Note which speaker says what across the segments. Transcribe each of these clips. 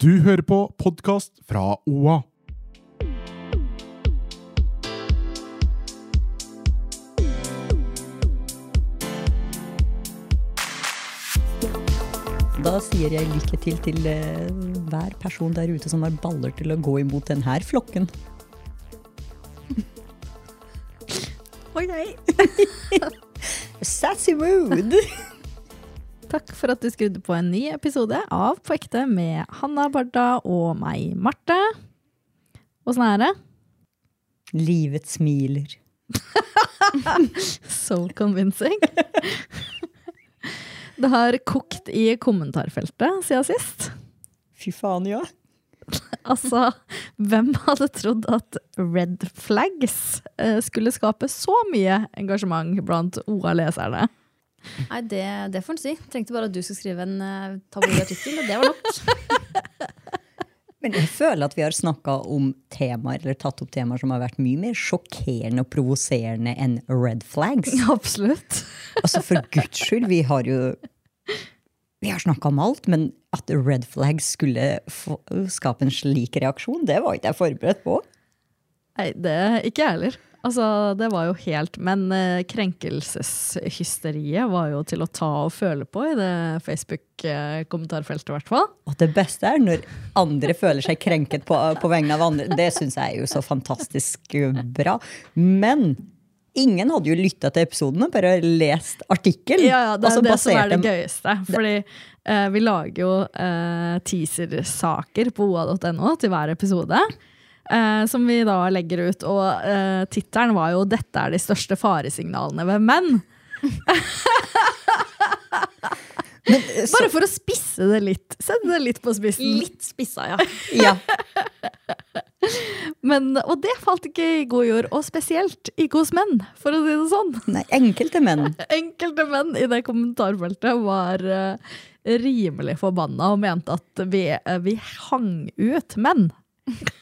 Speaker 1: Du hører på podkast fra OA.
Speaker 2: Da sier jeg lykke til til eh, hver person der ute som har baller til å gå imot denne flokken.
Speaker 3: Oi, nei.
Speaker 2: Sassy mood!
Speaker 3: Takk for at du skrudde på en ny episode av På ekte med Hanna Barda og meg, Marte. Åssen er det?
Speaker 2: Livet smiler.
Speaker 3: So convincing. Det har kokt i kommentarfeltet siden sist.
Speaker 2: Fy faen, ja.
Speaker 3: Altså, hvem hadde trodd at red flags eh, skulle skape så mye engasjement blant OA-leserne?
Speaker 4: Nei, det, det får en si. Trengte bare at du skulle skrive en uh, tabloidartikkel, og det var nok.
Speaker 2: Men jeg føler at vi har snakka om temaer, eller tatt opp temaer som har vært mye mer sjokkerende og provoserende enn red flags.
Speaker 3: Absolutt.
Speaker 2: Altså, for guds skyld, vi har jo Vi har snakka om alt, men at red flags skulle få, skape en slik reaksjon, det var ikke jeg forberedt på.
Speaker 3: Nei, det ikke jeg heller. Altså, det var jo helt Men eh, krenkelseshysteriet var jo til å ta og føle på i det Facebook-kommentarfeltet, i hvert fall.
Speaker 2: Og det beste er når andre føler seg krenket på, på vegne av andre. Det syns jeg er jo så fantastisk eh, bra. Men ingen hadde jo lytta til episodene, bare lest artikkelen.
Speaker 3: Ja, ja, det
Speaker 2: og
Speaker 3: er det som
Speaker 2: så Mm. Altså basert
Speaker 3: er det
Speaker 2: dem-
Speaker 3: gøyeste. Fordi eh, vi lager jo eh, teasersaker på oa.no til hver episode. eh, som vi da legger ut. Og eh, tittelen var jo 'Dette er de største faresignalene ved menn'. Bare for å spisse det litt. Sette det litt på spissen.
Speaker 4: Litt spissa, ja.
Speaker 2: Ja,
Speaker 3: Men, og det falt ikke i god jord, og spesielt ikke hos menn, for å si det sånn.
Speaker 2: nei, enkelte menn.
Speaker 3: Enkelte menn i det kommentarfeltet var eh, rimelig forbanna og mente at vi, eh, vi hang ut menn.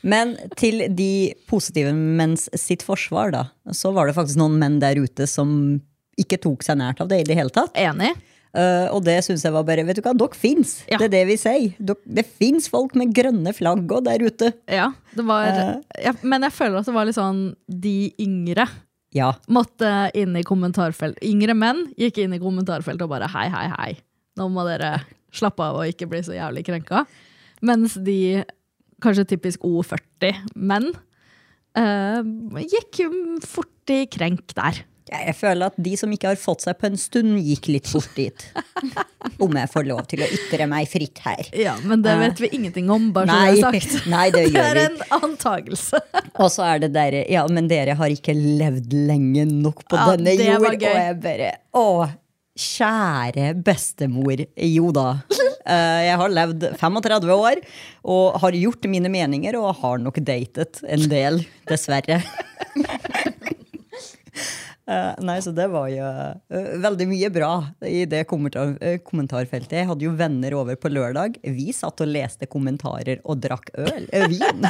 Speaker 2: Men til de positive menns sitt forsvar, da, så var det faktisk noen menn der ute som ikke tok seg nært av det i det hele tatt.
Speaker 3: Enig.
Speaker 2: Eh, og det syns jeg var bare Vet du hva, dere fins!
Speaker 3: Ja.
Speaker 2: Det er det vi sier. Dere- Det fins folk med grønne flagg og der ute.
Speaker 3: Ja, det var,
Speaker 2: Eh.
Speaker 3: ja, men jeg føler at det var litt sånn de yngre
Speaker 2: Ja.
Speaker 3: måtte inn i kommentarfelt. Yngre menn gikk inn i kommentarfeltet og bare hei, hei, hei. Nå må dere slappe av og ikke bli så jævlig krenka. Mens de kanskje typisk O40-menn eh, gikk fort i krenk der.
Speaker 2: Ja, Jeg føler at de som ikke har fått seg på en stund, gikk litt fort dit. Om jeg får lov til å ytre meg fritt her.
Speaker 3: Ja, Men det vet vi ingenting om, bare så det er sagt.
Speaker 2: nei, det
Speaker 3: Eh. Det er
Speaker 2: gjør vi.
Speaker 3: en antagelse.
Speaker 2: Og så er det derre Ja, men dere har ikke levd lenge nok på
Speaker 3: Ja,
Speaker 2: denne
Speaker 3: det
Speaker 2: jord.
Speaker 3: var
Speaker 2: Og
Speaker 3: gøy.
Speaker 2: jeg bare Å, kjære bestemor. Jo da. eh, Jeg har levd 35 år og har gjort mine meninger og har nok datet en del, dessverre. Eh, Nei, så det var jo eh, veldig mye bra i det kommentar eh, kommentarfeltet. Jeg hadde jo venner over på lørdag. Vi satt og leste kommentarer og drakk øl. eh, Vin.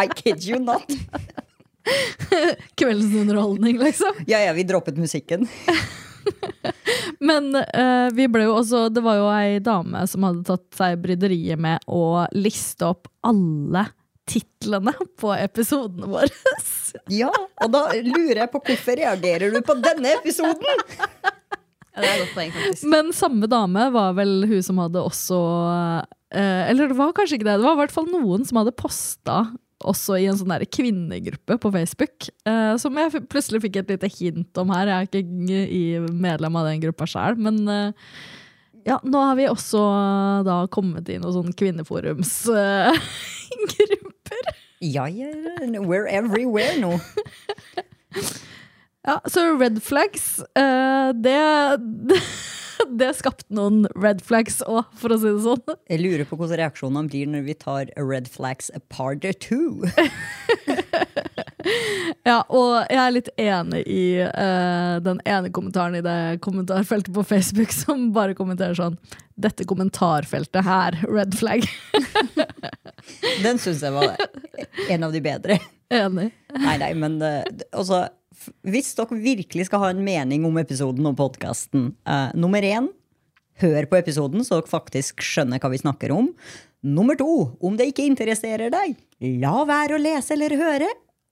Speaker 2: I kid you not.
Speaker 3: Kveldens underholdning, liksom.
Speaker 2: Ja, ja, vi droppet musikken.
Speaker 3: Men eh, vi ble jo også Det var jo ei dame som hadde tatt seg bryderiet med å liste opp alle titlene på episodene våre.
Speaker 2: Ja, Og da lurer jeg på hvorfor reagerer du på denne episoden?
Speaker 4: ja det er et godt poeng, faktisk.
Speaker 3: Men samme dame var vel hun som hadde også eh, Eller det var kanskje ikke det. Det var i hvert fall noen som hadde posta også i en sånn der kvinnegruppe på Facebook, eh, som jeg f- plutselig fikk et lite hint om her. Jeg er ikke g- i medlem av den gruppa sjøl, men eh, ja, nå har vi også eh, da kommet i noen sånn eh, kvinneforumsgrupper.
Speaker 2: Ja, ja, we're everywhere nå.
Speaker 3: ja, så red flags, eh, det det skapte noen red flags òg, for å si det sånn.
Speaker 2: Jeg lurer på hvordan reaksjonene blir når vi tar Red Flags part two.
Speaker 3: Ja, og jeg er litt enig i eh, den ene kommentaren i det kommentarfeltet på Facebook som bare kommenterer sånn Dette kommentarfeltet her, red flag.
Speaker 2: Den syns jeg var en av de bedre.
Speaker 3: Enig.
Speaker 2: Nei, nei, men eh, altså f- Hvis dere virkelig skal ha en mening om episoden og podkasten, eh, nummer én Hør på episoden, så dere faktisk skjønner hva vi snakker om. Nummer to, om det ikke interesserer deg, la være å lese eller høre,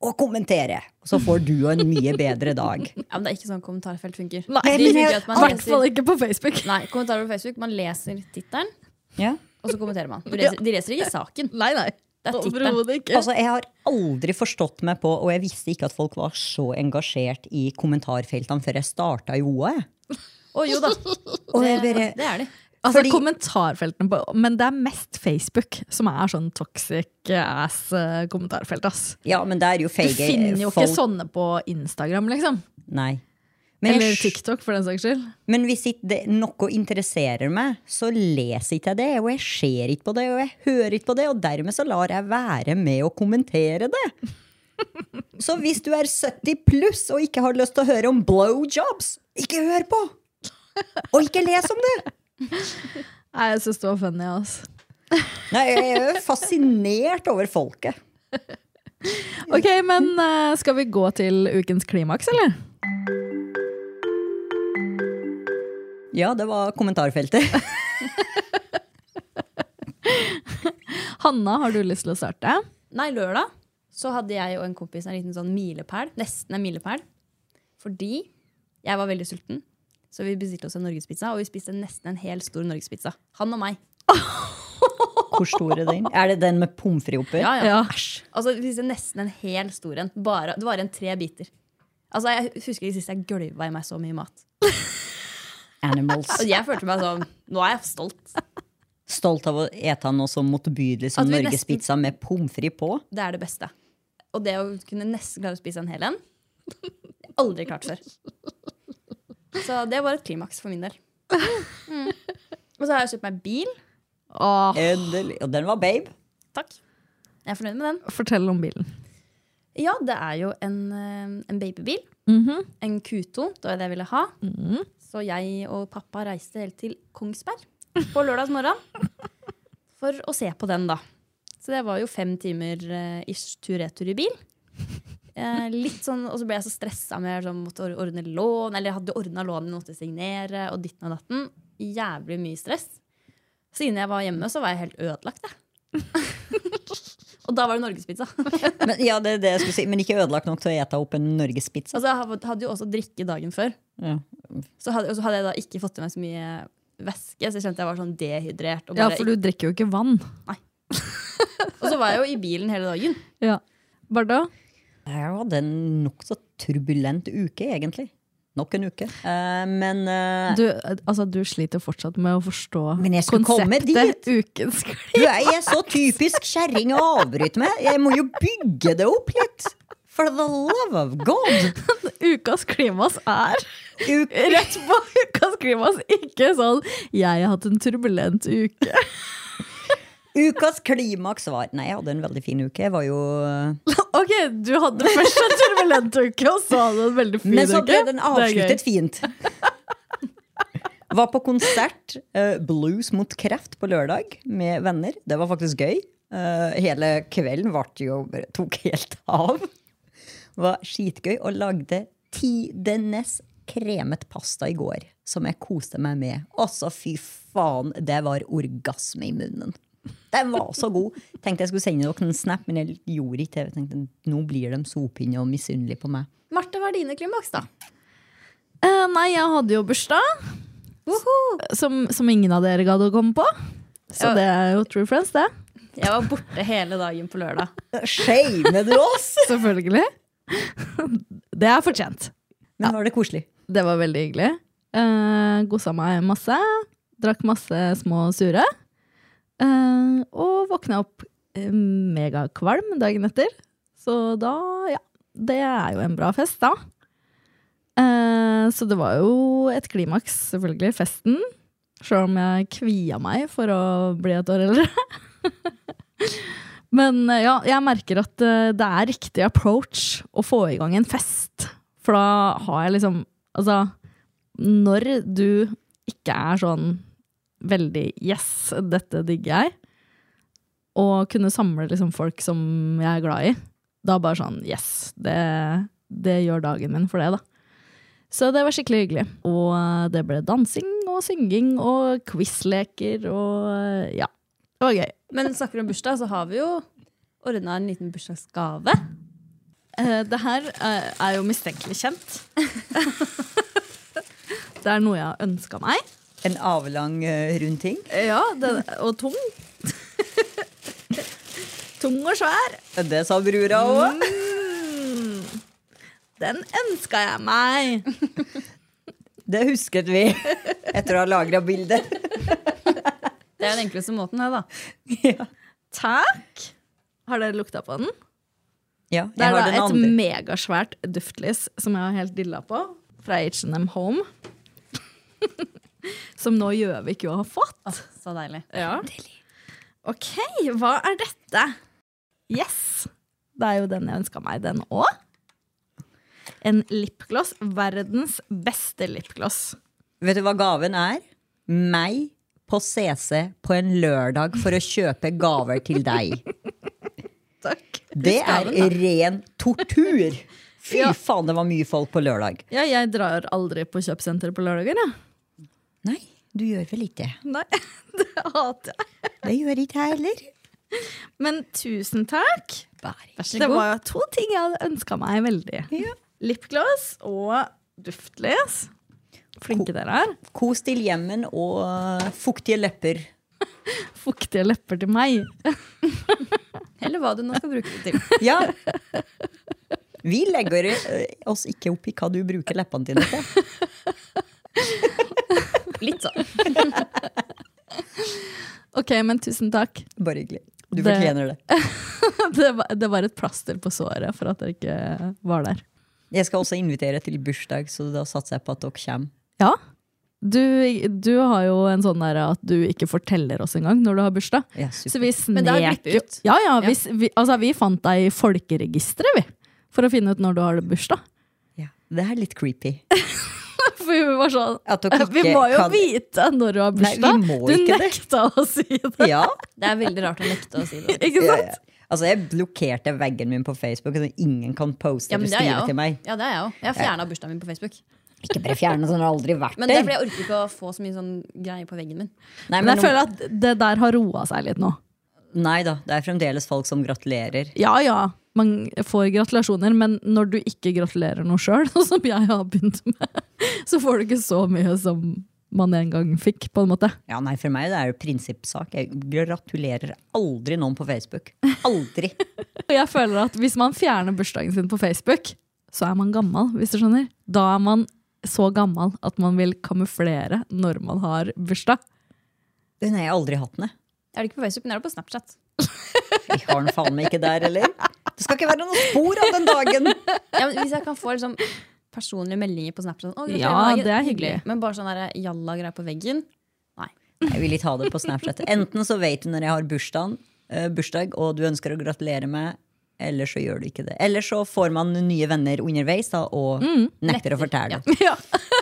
Speaker 2: og kommentere. Så får du en mye bedre dag.
Speaker 4: Ja, men Det er ikke sånn kommentarfelt funker.
Speaker 3: Nei,
Speaker 4: Det
Speaker 3: men
Speaker 4: funker
Speaker 3: jeg-
Speaker 4: at
Speaker 3: I
Speaker 4: man
Speaker 3: hvert
Speaker 4: leser-
Speaker 3: fall ikke på Facebook.
Speaker 4: Nei, kommentarer på Facebook. Man leser tittelen,
Speaker 2: Ja.
Speaker 4: og så kommenterer man. Du leser, de leser ikke saken.
Speaker 3: Nei, nei.
Speaker 4: Det er tittelen.
Speaker 3: Overhodet ikke.
Speaker 2: Altså, Jeg har aldri forstått meg på, og jeg visste ikke at folk var så engasjert i kommentarfeltene før jeg starta i OA. jeg.
Speaker 4: Å jo da.
Speaker 2: Og jeg
Speaker 4: Det,
Speaker 2: bare-
Speaker 4: det er de.
Speaker 3: Altså,
Speaker 2: Fordi-
Speaker 3: kommentarfeltene på, Men det er mest Facebook som er sånn toxic ass-kommentarfelt. ass.
Speaker 2: Ja, men det er jo
Speaker 3: Du
Speaker 2: feige
Speaker 3: finner jo ikke sånn- sånne på Instagram, liksom.
Speaker 2: Nei. Men,
Speaker 3: Eller
Speaker 2: jeg,
Speaker 3: TikTok, for den saks skyld.
Speaker 2: men hvis ikke det, noe interesserer meg, så leser ikke jeg det, og jeg ser ikke på det, og jeg hører ikke på det, og dermed så lar jeg være med å kommentere det. Så hvis du er 70 pluss og ikke har lyst til å høre om blowjobs, ikke hør på! Og ikke les om det!
Speaker 3: Nei, jeg syns det var funny. ass.
Speaker 2: Nei, jeg er jo fascinert over folket.
Speaker 3: Ok, men eh, skal vi gå til ukens klimaks, eller?
Speaker 2: Ja, det var kommentarfeltet.
Speaker 3: Hanna, har du lyst til å starte?
Speaker 4: Nei, lørdag så hadde jeg og en kompis en liten sånn milepæl. Nesten en milepæl. Fordi jeg var veldig sulten. Så vi bestilte oss en norgespizza, og vi spiste nesten en hel stor norgespizza. Han og meg.
Speaker 2: Hvor stor er den? Er det den med pommes frites oppi?
Speaker 4: Ja, ja.
Speaker 3: Ja.
Speaker 4: Æsj. Altså, vi spiste nesten en hel stor en. Bare, det var en tre biter. Altså, Jeg husker ikke sist jeg gølva i meg så mye mat.
Speaker 2: Animals.
Speaker 4: Og jeg følte meg sånn Nå er jeg stolt.
Speaker 2: Stolt av å ete noe så motbydelig som
Speaker 4: At vi
Speaker 2: norgespizza med pommes frites på.
Speaker 4: Det er det beste. Og det å kunne nesten klare å spise en hel en det har jeg Aldri klart før. Så det var et klimaks for min del. Mm. Og så har jeg kjøpt meg bil.
Speaker 3: Åh,
Speaker 2: Endelig. Og den var babe.
Speaker 4: Takk. Jeg er fornøyd med den.
Speaker 3: fortell om bilen.
Speaker 4: Ja, det er jo en, eh, en babybil. En Q2. Det var det jeg ville ha. Så jeg og pappa reiste helt til Kongsberg på lørdags morgen for å se på den, da. Så det var jo fem timer eh, ish tur-retur i bil. Eh, litt sånn, Og så ble jeg så stressa med å måtte or- ordne lån, eller jeg hadde ordna lånet, måtte signere, og ditten og datten. Jævlig mye stress. Så innen jeg var hjemme, så var jeg helt ødelagt, jeg. og da var det norgespizza.
Speaker 2: Men, ja, det er det jeg skulle si. Men ikke ødelagt nok til å ete opp en norgespizza.
Speaker 4: Altså, jeg hav- hadde jo også drikke dagen før.
Speaker 2: Ja.
Speaker 4: Så hadde, og så hadde jeg da ikke fått i meg så mye væske, så jeg kjente jeg var sånn dehydrert. Og,
Speaker 3: Ja,
Speaker 4: bare,
Speaker 3: for du drikker jo ikke vann.
Speaker 4: og så var jeg jo i bilen hele dagen.
Speaker 3: Ja. Barda?
Speaker 2: Jeg hadde en nokså turbulent uke, egentlig. Nok en uke. Eh, men eh,
Speaker 3: Du, altså, du sliter fortsatt med å forstå
Speaker 2: Men jeg skulle komme
Speaker 3: konseptet ukens klimaks.
Speaker 2: du er, jeg er så typisk kjerring å avbryte med. Jeg må jo bygge det opp litt. For the love of God!
Speaker 3: Ukas klimas er
Speaker 2: Uke
Speaker 3: Rett på ukas klimas, ikke sånn 'jeg har hatt en turbulent uke'.
Speaker 2: Ukas klimaks var Nei, jeg hadde en veldig fin uke. Jeg var jo eh,
Speaker 3: Ok, du hadde først en turbulent uke, og så hadde du en veldig fin uke.
Speaker 2: Men så ble den
Speaker 3: Det er gøy.
Speaker 2: avsluttet fint. Var på konsert, eh, Blues mot kreft, på lørdag med venner. Det var faktisk gøy. Eh, hele kvelden vart jo, tok helt av. Var skitgøy og lagde tidenes kremet pasta i går, som jeg koste meg med. Altså, fy faen, det var orgasme i munnen. Den var så god. Tenkte jeg skulle sende dere en snap, men jeg gjorde ikke det. Jeg tenkte, Nå blir de sopinne og misunnelige på meg.
Speaker 4: Marte, hva er dine klimaks, da?
Speaker 3: Eh, nei, jeg hadde jo bursdag. Som, som ingen av dere gadd å komme på. Så
Speaker 4: Ja.
Speaker 3: det er jo true friends, det.
Speaker 4: Jeg var borte hele dagen på lørdag.
Speaker 2: Shamer du oss?
Speaker 3: Selvfølgelig. Det er fortjent.
Speaker 2: Men var det koselig?
Speaker 3: Det var veldig hyggelig. Eh, Gossa meg masse. Drakk masse små sure. Eh, og våkna opp eh, megakvalm dagen etter. Så da, ja. Det er jo en bra fest, da. Eh, så det var jo et klimaks, selvfølgelig. Festen. Selv om jeg kvia meg for å bli et år eldre. Men eh, ja, jeg merker at eh, det er riktig approach å få i gang en fest. For da har jeg liksom Altså, når du ikke er sånn veldig Yes, dette digger jeg. Og kunne samle liksom folk som jeg er glad i. Da bare sånn Yes, det, det gjør dagen min for det, da. Så det var skikkelig hyggelig. Og eh, det ble dansing og synging og quizleker og eh, ja. Det var gøy.
Speaker 4: Men snakker om bursdag, så har vi jo ordna en liten bursdagsgave.
Speaker 3: Eh, Det her eh, er jo mistenkelig kjent. det er noe jeg har ønska meg.
Speaker 2: En avlang, eh, rund ting.
Speaker 3: Ja, Og tung. tung og svær.
Speaker 2: Det sa brura òg.
Speaker 3: Den ønska jeg meg.
Speaker 2: Det husket vi etter å ha lagra bildet.
Speaker 4: Det er den enkleste måten, det, da.
Speaker 3: Takk. Har dere lukta på den?
Speaker 2: Ja,
Speaker 3: Det
Speaker 2: jeg
Speaker 3: er
Speaker 2: har
Speaker 3: da
Speaker 2: den
Speaker 3: et
Speaker 2: andre.
Speaker 3: megasvært duftlys som jeg har helt dilla på, fra H&M Home. som nå Gjøvik jo har fått.
Speaker 2: Ah,
Speaker 4: Så deilig.
Speaker 3: Ja. Ok, hva er dette? Yes! Det er jo den jeg ønska meg, den òg. En lipgloss. Verdens beste lipgloss.
Speaker 2: Vet du hva gaven er? Meg på CC på en lørdag for å kjøpe gaver til deg.
Speaker 3: Takk.
Speaker 2: Det er ren tortur! Fy
Speaker 3: Ja.
Speaker 2: faen, det var mye folk på lørdag.
Speaker 3: Ja, jeg drar aldri på kjøpesenter på lørdager, jeg.
Speaker 2: Nei, du gjør vel ikke det?
Speaker 3: Nei, det hater jeg.
Speaker 2: Det gjør ikke jeg heller.
Speaker 3: Men tusen takk.
Speaker 2: Bare.
Speaker 3: Det var jo to ting jeg hadde ønska meg veldig. Lipgloss og duftlys. Flinke dere er.
Speaker 2: Kos til hjemmen og øh, fuktige lepper.
Speaker 3: Fuktige lepper til meg.
Speaker 4: Eller hva du nå skal bruke det til.
Speaker 2: Ja. Vi legger øh, oss ikke opp i hva du bruker leppene dine til.
Speaker 4: Litt sånn.
Speaker 3: Ok, men tusen takk.
Speaker 2: Bare hyggelig. Du
Speaker 3: Det-
Speaker 2: fortjener det.
Speaker 3: det, var, det var et plaster på såret for at jeg ikke var der.
Speaker 2: Jeg skal også invitere til bursdag, så da satser jeg på at dere kommer.
Speaker 3: Ja. Du, du har jo en sånn der at du ikke forteller oss engang når du har bursdag.
Speaker 2: Ja,
Speaker 3: Så
Speaker 2: super.
Speaker 3: vi
Speaker 4: Men det er
Speaker 3: snek
Speaker 4: glippet
Speaker 3: jo
Speaker 4: ut.
Speaker 3: Ja, ja. Vi, s- vi, altså, vi fant deg i folkeregisteret, vi. For å finne ut når du har bursdag.
Speaker 2: Ja. Det er litt creepy.
Speaker 3: For vi var sånn
Speaker 2: At dere
Speaker 3: Vi
Speaker 2: ikke
Speaker 3: må jo
Speaker 2: kan-
Speaker 3: vite når du har
Speaker 2: Nei, vi
Speaker 3: bursdag!
Speaker 2: må
Speaker 3: du
Speaker 2: ikke det.
Speaker 3: nekta å si det.
Speaker 2: Ja.
Speaker 4: Det er veldig rart å nekte å si det.
Speaker 3: Ikke sant?
Speaker 2: Altså, jeg blokkerte veggen min på Facebook, så ingen kan poste
Speaker 4: Ja,
Speaker 2: eller
Speaker 4: men det er
Speaker 2: skrive
Speaker 4: jeg
Speaker 2: til meg.
Speaker 4: òg. Ja, det er jeg også. jeg har fjerna bursdagen min på Facebook.
Speaker 2: Ikke bare fjerne, sånn har aldri vært
Speaker 4: Men det er fordi jeg orker ikke å få så mye sånn greier på veggen min.
Speaker 2: Nei,
Speaker 3: Men
Speaker 2: men,
Speaker 3: jeg føler at det der har roa seg litt nå.
Speaker 2: nei da, det er fremdeles folk som gratulerer.
Speaker 3: Ja ja, man får gratulasjoner, men når du ikke gratulerer noe sjøl, sånn som jeg har begynt med, så får du ikke så mye som man en gang fikk, på en måte.
Speaker 2: Ja, nei, For meg det er det prinsippsak. Jeg gratulerer aldri noen på Facebook. Aldri.
Speaker 3: Og jeg føler at hvis man fjerner bursdagen sin på Facebook, så er man gammel, hvis du skjønner. Da er man så gammel at man vil kamuflere når man har bursdag.
Speaker 2: Den har jeg aldri hatt med.
Speaker 4: Er det ikke på Facebook, men er det på Snapchat?
Speaker 2: Jeg har den faen meg ikke der heller. Det skal ikke være noen spor av den dagen!
Speaker 4: Ja, men hvis jeg kan få liksom, personlige meldinger på Snapchat sånn, «Å, gratulerer
Speaker 3: Ja,
Speaker 4: med dagen».
Speaker 3: det er hyggelig.
Speaker 4: Men bare sånn der jalla-greier på veggen
Speaker 2: Jeg vil ikke ha det på Snapchat. Enten så vet du når jeg har bursdagen, eh, bursdag, og du ønsker å gratulere meg, eller så gjør du ikke det. Eller så får man nye venner underveis da, og nekter å fortelle.
Speaker 3: Mm, Ja.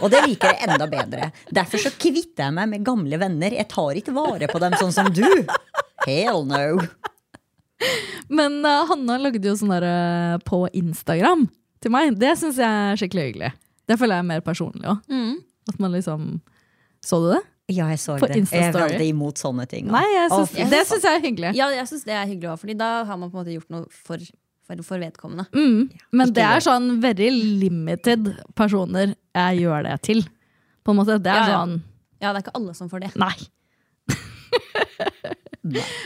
Speaker 2: Og det liker jeg enda bedre. Derfor så kvitter jeg meg med gamle venner. Jeg tar ikke vare på dem sånn som du. Hell no.
Speaker 3: Men eh, Hanna lagde jo sånn der eh, på Instagram til meg. Det syns jeg er skikkelig hyggelig. Det føler jeg er mer personlig òg.
Speaker 4: Mm.
Speaker 3: At man liksom Så du det?
Speaker 2: Ja, jeg så
Speaker 3: På
Speaker 2: det. Jeg er
Speaker 3: Insta-story.
Speaker 2: veldig imot sånne ting. da.
Speaker 3: Nei, jeg synes,
Speaker 2: Å, fy
Speaker 3: det syns jeg er hyggelig.
Speaker 4: Ja, jeg synes det er hyggelig også, Fordi da har man på en måte gjort noe for, for, for vedkommende
Speaker 3: Mm. Men det er sånn very limited personer jeg gjør det til. På en måte, Det er
Speaker 4: Ja, ja.
Speaker 3: sånn
Speaker 4: Ja, det er ikke alle som får det
Speaker 3: Nei.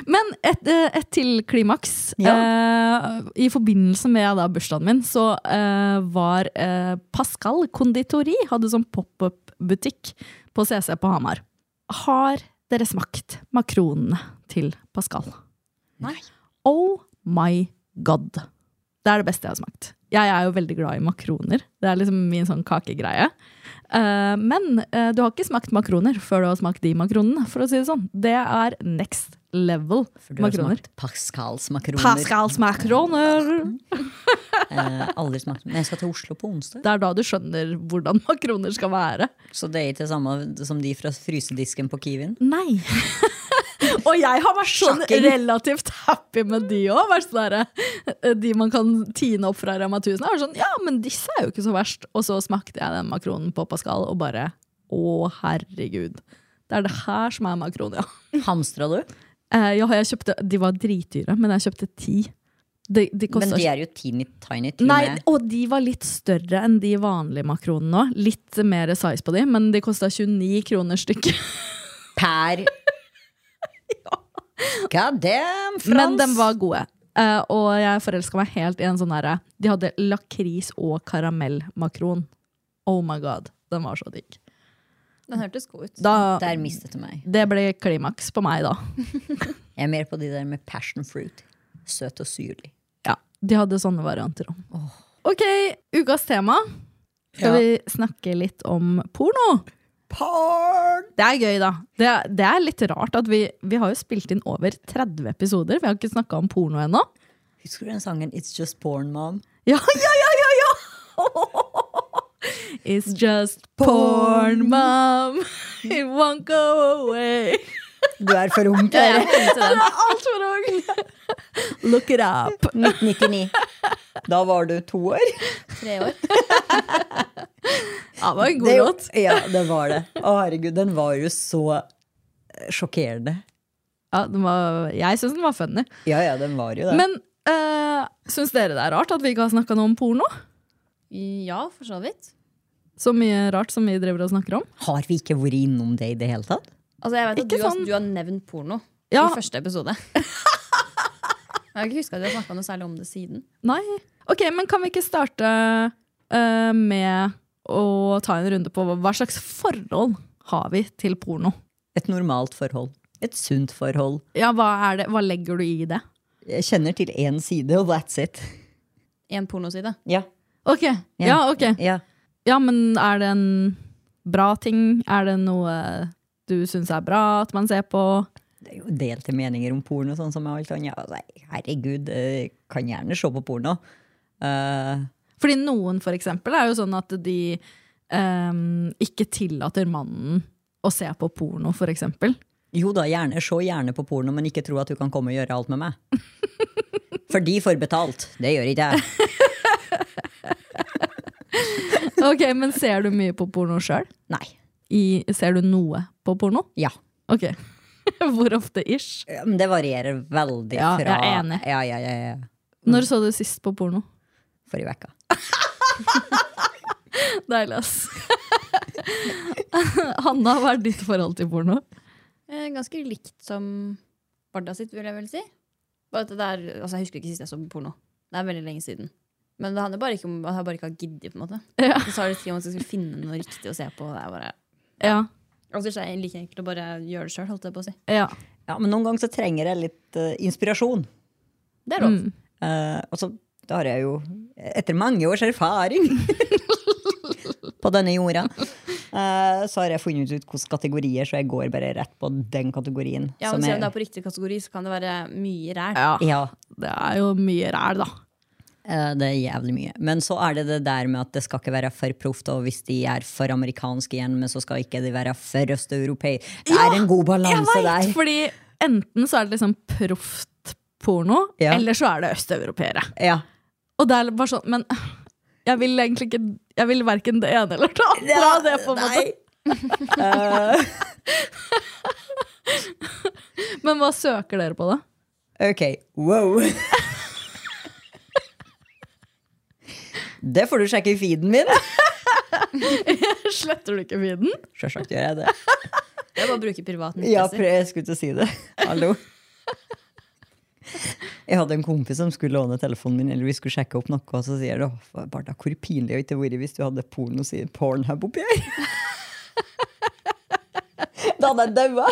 Speaker 3: Men et, eh, et til klimaks. Eh, I forbindelse med da bursdagen min så eh, var eh, Pascal Konditori hadde sånn pop-up-butikk på CC på Hamar. Har dere smakt makronene til Pascal?
Speaker 4: Nei.
Speaker 3: Oh my god. Det er det beste jeg har smakt. Jeg er jo veldig glad i makroner. Det er liksom min sånn kakegreie. Eh, men eh, du har ikke smakt makroner før du har smakt de makronene, for å si det sånn. Det er next level
Speaker 2: For du har
Speaker 3: makroner.
Speaker 2: smakt Pascals makroner.
Speaker 3: Pascals makroner!
Speaker 2: Eh, aldri smakt. Men jeg skal til Oslo på onsdag.
Speaker 3: Det er da du skjønner hvordan makroner skal være.
Speaker 2: Så det er ikke det samme som de fra frysedisken på Kiwien?
Speaker 3: Nei. og jeg har vært sånn
Speaker 2: Sjokking.
Speaker 3: relativt happy med de òg. Sånn der, de man kan tine opp fra Rema 1000. Jeg var sånn, ja, men disse er jo ikke så verst. Og så smakte jeg den makronen på Pascal og bare å, herregud. Det er det her som er makron, ja.
Speaker 2: Hamstra du?
Speaker 3: Eh, ja jeg kjøpte, de var dritdyre, men jeg kjøpte ti. De, de
Speaker 2: Men
Speaker 3: kostet-
Speaker 2: de er jo teeny tiny. til og
Speaker 3: Nei,
Speaker 2: med.
Speaker 3: og de var litt større enn de vanlige makronene òg. Litt mer size på de, men de kosta 29 kroner stykket.
Speaker 2: Per God damn, Frans!
Speaker 3: Men de var gode. Eh, og jeg forelska meg helt i en sånn herre De hadde lakris og karamellmakron. Oh my god, den var så digg.
Speaker 4: Den hørtes god ut.
Speaker 3: Da,
Speaker 2: Der mistet du meg.
Speaker 3: det ble klimaks på meg, da.
Speaker 2: Jeg er mer på de der med passion fruit. Søt og syrlig.
Speaker 3: Ja, De hadde sånne varianter òg. Ok, ukas tema. Skal
Speaker 2: Ja.
Speaker 3: vi snakke litt om porno? Det er gøy, da. Det, det er litt rart at vi, vi har jo spilt inn over 30 episoder. Vi har ikke snakka om porno ennå.
Speaker 2: Husker du den sangen It's Just Porn Mom?
Speaker 3: Ja, ja, ja, ja, ja! It's just porn, mom. It won't go away.
Speaker 2: Du er for ung til
Speaker 3: Jeg tenkte den. Altfor ung! Look it up.
Speaker 2: 1999. Da var du to år.
Speaker 4: Tre år.
Speaker 3: Ja, det var en god
Speaker 2: Det-
Speaker 3: låt.
Speaker 2: Ja, det var det. Å herregud, den var jo så eh, sjokkerende.
Speaker 3: Ja, den var, jeg syns den var funny.
Speaker 2: Ja, ja, den var jo det.
Speaker 3: Men uh, syns dere det er rart at vi ikke har snakka noe om porno?
Speaker 4: Ja, for så vidt.
Speaker 3: Så mye rart som vi driver og snakker om.
Speaker 2: Har vi ikke vært innom det i det hele tatt?
Speaker 4: Altså, jeg vet at
Speaker 3: Ikke
Speaker 4: du, har-
Speaker 3: sånn-
Speaker 4: du har nevnt porno
Speaker 3: Ja.
Speaker 4: i første episode. Jeg har ikke huska at vi har snakka noe særlig om det siden.
Speaker 3: Nei. Ok, men kan vi ikke starte eh, med å ta en runde på hva slags forhold har vi til porno?
Speaker 2: Et normalt forhold. Et sunt forhold.
Speaker 3: Ja, hva, er det, hva legger du i det?
Speaker 2: Jeg kjenner til én side, og that's it.
Speaker 4: En pornoside.
Speaker 2: Ja.
Speaker 3: Ok, ja, ok.
Speaker 2: ja.
Speaker 3: Ja, men er det en bra ting? Er det noe du syns er bra at man ser på?
Speaker 2: Det er jo delte meninger om porno, sånn som alt annet. Altså, herregud, eh, kan gjerne se på porno. Eh,
Speaker 3: Fordi noen for eksempel er jo sånn at de eh, ikke tillater mannen å se på porno, for eksempel.
Speaker 2: jo da, gjerne, se gjerne på porno, men ikke tro at du kan komme og gjøre alt med meg. For de får betalt. Det gjør ikke jeg.
Speaker 3: Ok, men ser du mye på porno sjøl?
Speaker 2: Nei.
Speaker 3: Ser du noe på porno?
Speaker 2: Ja.
Speaker 3: Ok. Hvor ofte ish?
Speaker 2: Ja, Men det varierer veldig
Speaker 3: Ja,
Speaker 2: fra
Speaker 3: jeg er enig.
Speaker 2: Ja, ja, ja, ja.
Speaker 3: Når så du sist på porno?
Speaker 2: Forrige uke.
Speaker 3: Deilig, ass. Hanna, hva er ditt forhold til porno?
Speaker 4: Eh, Ganske likt som Barda sitt, vil jeg vel si. Bare at det er, altså, jeg husker ikke sist jeg så på porno. Det er veldig lenge siden. Men det handler bare ikke om at jeg bare ikke har giddet. på en måte.
Speaker 3: Ja.
Speaker 4: Så tar det litt tid om man skal finne noe riktig å se på. og Det er bare,
Speaker 3: Ja,
Speaker 4: altså, det er like enkelt å bare gjøre det sjøl, holdt jeg på å si.
Speaker 3: ja.
Speaker 2: Ja, men noen ganger så trenger jeg litt eh, inspirasjon.
Speaker 4: Det er lov.
Speaker 3: Mm.
Speaker 2: Eh, og så da har jeg jo, etter mange års erfaring på denne jorda, eh, så har jeg funnet ut hvilke kategorier, så jeg går bare rett på den kategorien.
Speaker 4: Ja, men Selv om det er på riktig kategori, så kan det være mye ræl.
Speaker 3: ja.
Speaker 2: ja,
Speaker 3: Det er jo mye ræl, da.
Speaker 2: eh, det er jævlig mye. Men så er det det der med at det skal ikke være for proft, og hvis de er for amerikanske igjen, men så skal ikke de være for østeuropeiske. Det er en god balanse der.
Speaker 3: Fordi enten så er det liksom proft porno,
Speaker 2: Ja.
Speaker 3: eller så er det østeuropeere.
Speaker 2: Ja,
Speaker 3: Og det er bare sånn, men jeg vil egentlig ikke Jeg vil verken det ene eller det andre. av det, på en måte.
Speaker 2: nei. Eh,
Speaker 3: Men hva søker dere på, da?
Speaker 2: Ok, wow. Det får du sjekke i feeden min.
Speaker 3: Sletter du ikke feeden?
Speaker 2: Sjølsagt gjør jeg det.
Speaker 4: Det er bare å bruke private
Speaker 2: Ja,
Speaker 4: interesser.
Speaker 2: pre- jeg skulle til å si det. Hallo. Jeg hadde en kompis som skulle låne telefonen min, eller vi skulle sjekke opp noe, og så sier du Barda, hvor pinlig hadde det ikke vært hvis du hadde porno sier Pornhub oppi her? Da hadde jeg daua.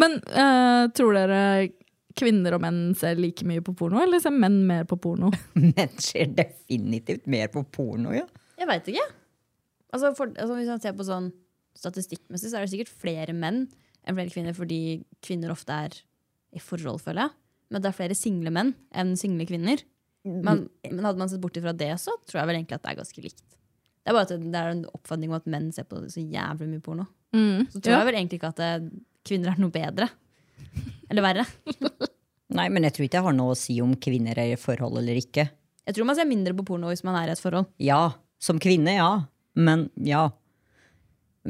Speaker 3: Men eh, tror dere kvinner og menn ser like mye på porno, eller ser menn mer på porno?
Speaker 2: Men ser definitivt mer på porno, ja.
Speaker 4: Jeg veit ikke. Altså, for, altså, hvis man ser på sånn statistikkmessig, så er det sikkert flere menn enn flere kvinner, fordi kvinner ofte er i forhold, føler jeg. Men det er flere single menn enn single kvinner. Men, men hadde man sett bort ifra det, så tror jeg vel egentlig at det er ganske likt. Det er bare at det- det er en oppfatning om at menn ser på så jævlig mye porno. Så tror
Speaker 3: Ja.
Speaker 4: jeg vel egentlig ikke at det, kvinner er noe bedre. Eller verre.
Speaker 2: Nei, men jeg tror ikke jeg har noe å si om kvinner er i forhold eller ikke.
Speaker 4: Jeg tror man ser mindre på porno hvis man er i et forhold.
Speaker 2: Ja, som kvinne, ja. Men ja.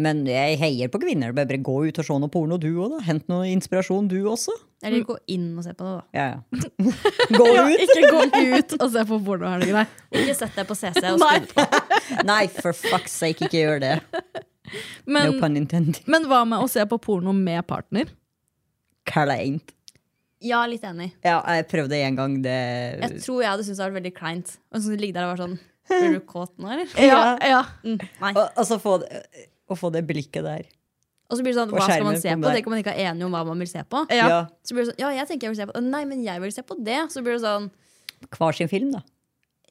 Speaker 2: Men jeg heier på kvinner. Bare bare gå ut og se noe porno, du òg, da. Hent noe inspirasjon, du også.
Speaker 4: Eller gå inn og se på det, da.
Speaker 2: Ja, ja. Gå ut!
Speaker 3: Ikke gå ut og se på porno, er det greit?
Speaker 4: Ikke sett deg på CC og skru på.
Speaker 2: Nei, for fuck's sake, ikke gjør det. No
Speaker 3: Men,
Speaker 2: pun intended.
Speaker 3: men hva med å se på porno med partner?
Speaker 2: Kleint.
Speaker 4: Ja, litt enig.
Speaker 2: Ja, jeg prøvde en gang det
Speaker 4: Jeg tror jeg hadde syntes det hadde vært veldig kleint. Og så ligge der og være sånn Blir du kåt nå, eller?
Speaker 3: Ja, ja.
Speaker 4: Mm, nei.
Speaker 2: Eh, Og, og så få det, å få det blikket der.
Speaker 4: Og så blir det sånn,
Speaker 2: Og
Speaker 4: hva skal man
Speaker 2: skjermen
Speaker 4: se
Speaker 2: kom
Speaker 4: på?
Speaker 2: der.
Speaker 4: Tenk om man ikke er enige om hva man vil se på.
Speaker 3: Ja.
Speaker 4: Så blir det sånn, ja, jeg tenker jeg vil se på det. Nei, men jeg vil se på det. Så blir det sånn,
Speaker 2: Hver sin film, da.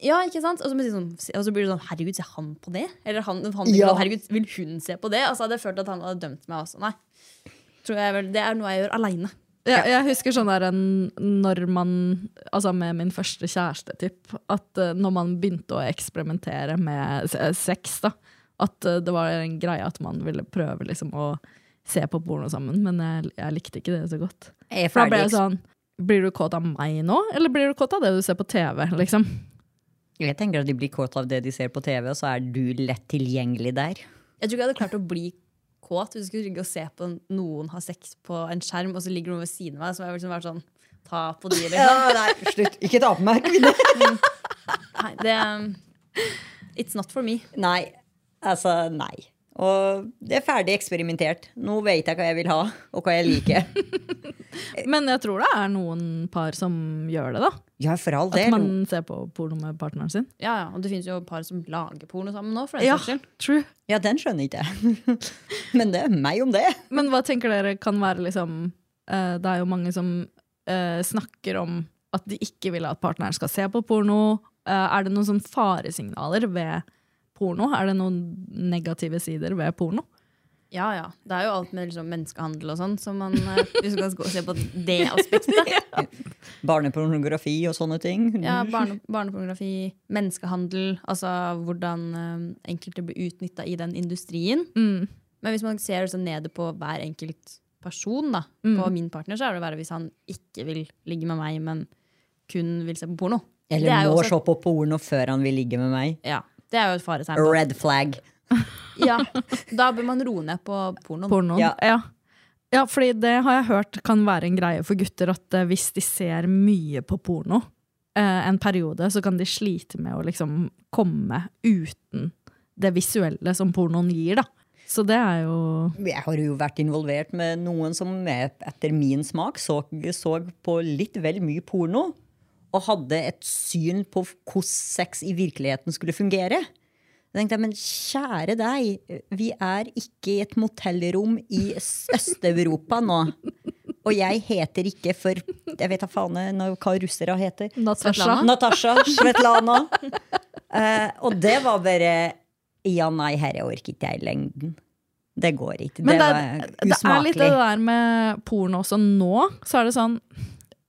Speaker 4: ja, ikke sant? Og så, må jeg si sånn, og så blir det sånn, herregud, ser han på det? Eller han, han tenker
Speaker 2: Ja.
Speaker 4: sånn, herregud, vil hun se på det? Altså, hadde jeg følt at han hadde dømt meg også. Nei, tror jeg vel, det er noe jeg gjør alene.
Speaker 3: Ja, jeg husker sånn der en- når man Altså med min første kjæreste, typ. At eh, når man begynte å eksperimentere med se- sex, da. At eh, det var en greie at man ville prøve liksom å se på porno sammen. Men jeg, jeg likte ikke det så godt.
Speaker 2: Jeg er
Speaker 3: For da ble
Speaker 2: ferdig
Speaker 3: jeg
Speaker 2: eks-
Speaker 3: sånn Blir du kåt av meg nå, eller blir du kåt av det du ser på TV? liksom?
Speaker 2: Jeg tenker at de blir kåt av det de ser på TV, og så er du lett tilgjengelig der.
Speaker 4: Jeg tror ikke jeg hadde klart å bli kåt hvis du skulle ligge og se på noen ha sex på en skjerm, og så ligger noen ved siden av meg, så må jeg liksom være sånn, ta på de, liksom.
Speaker 2: nei, slutt. Ikke ta på meg, kvinne.
Speaker 4: Nei, det um, It's not for me.
Speaker 2: Nei. Altså, nei. Og det er ferdig eksperimentert. Nå vet jeg hva jeg vil ha, og hva jeg liker.
Speaker 3: Men jeg tror det er noen par som gjør det, da.
Speaker 2: Ja, for all
Speaker 3: At
Speaker 2: del.
Speaker 3: man ser på porno med partneren sin.
Speaker 4: Ja, ja, Og det finnes jo par som lager porno sammen nå. for den
Speaker 3: Ja,
Speaker 4: saks skyld.
Speaker 3: true.
Speaker 2: Ja, den skjønner ikke jeg. Men det er meg om det.
Speaker 3: Men hva tenker dere kan være liksom eh, Det er jo mange som eh, snakker om at de ikke vil at partneren skal se på porno. Eh, er det noen sånn faresignaler ved porno? Er det noen negative sider ved porno?
Speaker 4: Ja, ja. Det er jo alt med liksom menneskehandel og sånn. Så man, eh, hvis du kan gå og se på det aspektet.
Speaker 2: Barnepornografi og sånne ting.
Speaker 4: Ja, barne, Barnepornografi, menneskehandel, altså hvordan eh, enkelte blir utnytta i den industrien. Men hvis man ser så ned på hver enkelt person, da, på min partner, så er det verre hvis han ikke vil ligge med meg, men kun vil se på porno. Det er
Speaker 2: Eller
Speaker 4: jo
Speaker 2: må
Speaker 4: også-
Speaker 2: se på porno før han vil ligge med meg.
Speaker 4: Ja, Det er jo et faretegn.
Speaker 2: Red flag.
Speaker 4: Ja, da bør man roe ned på pornoen.
Speaker 3: Pornoen?
Speaker 2: Ja.
Speaker 3: Ja. ja. fordi det har jeg hørt kan være en greie for gutter at eh, hvis de ser mye på porno eh, en periode, så kan de slite med å liksom komme uten det visuelle som pornoen gir, da. Så det er jo
Speaker 2: Jeg har jo vært involvert med noen som er, etter min smak så, så på litt vel mye porno. Og hadde et syn på hvordan sex i virkeligheten skulle fungere. Da tenkte jeg, Men kjære deg, vi er ikke i et motellrom i S- Øst-Europa nå. Og jeg heter ikke for Jeg vet da faen nå hva russere heter.
Speaker 3: Natasha.
Speaker 2: Natasha Svetlana. Eh, og det var bare Ja, nei, herre, jeg orker ikke jeg i lengden. Det går ikke. Det,
Speaker 3: Men det,
Speaker 2: var
Speaker 3: det er
Speaker 2: usmakelig.
Speaker 3: litt det der med porno også nå. Så er det sånn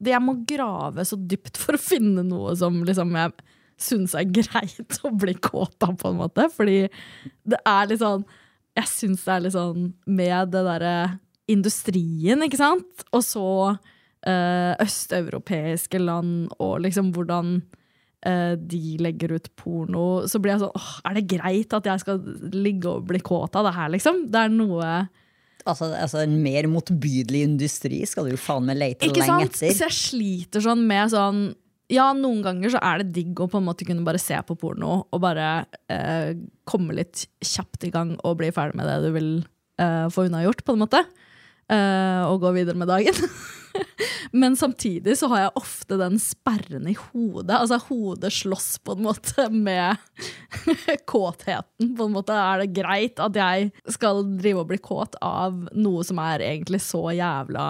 Speaker 3: det- Jeg må grave så dypt for å finne noe som liksom jeg syns er greit å bli kåt av, på en måte. Fordi det er litt sånn Jeg syns det er litt sånn med det derre industrien, ikke sant? Og så eh, østeuropeiske land og liksom hvordan eh, de legger ut porno, så blir jeg sånn åh, Er det greit at jeg skal ligge og bli kåt av det her, liksom? Det er noe
Speaker 2: altså, altså, en mer motbydelig industri skal du jo faen meg lete
Speaker 3: Ikke
Speaker 2: lenge
Speaker 3: sant?
Speaker 2: etter.
Speaker 3: Så jeg sliter sånn med sånn Ja, noen ganger så er det digg å på en måte kunne bare se på porno og bare eh, komme litt kjapt i gang og bli ferdig med det du vil eh, få unnagjort, på en måte. Eh, og gå videre med dagen. Men samtidig så har jeg ofte den sperren i hodet. Altså hodet slåss på en måte med kåtheten. På en måte er det greit at jeg skal drive og bli kåt av noe som er egentlig så jævla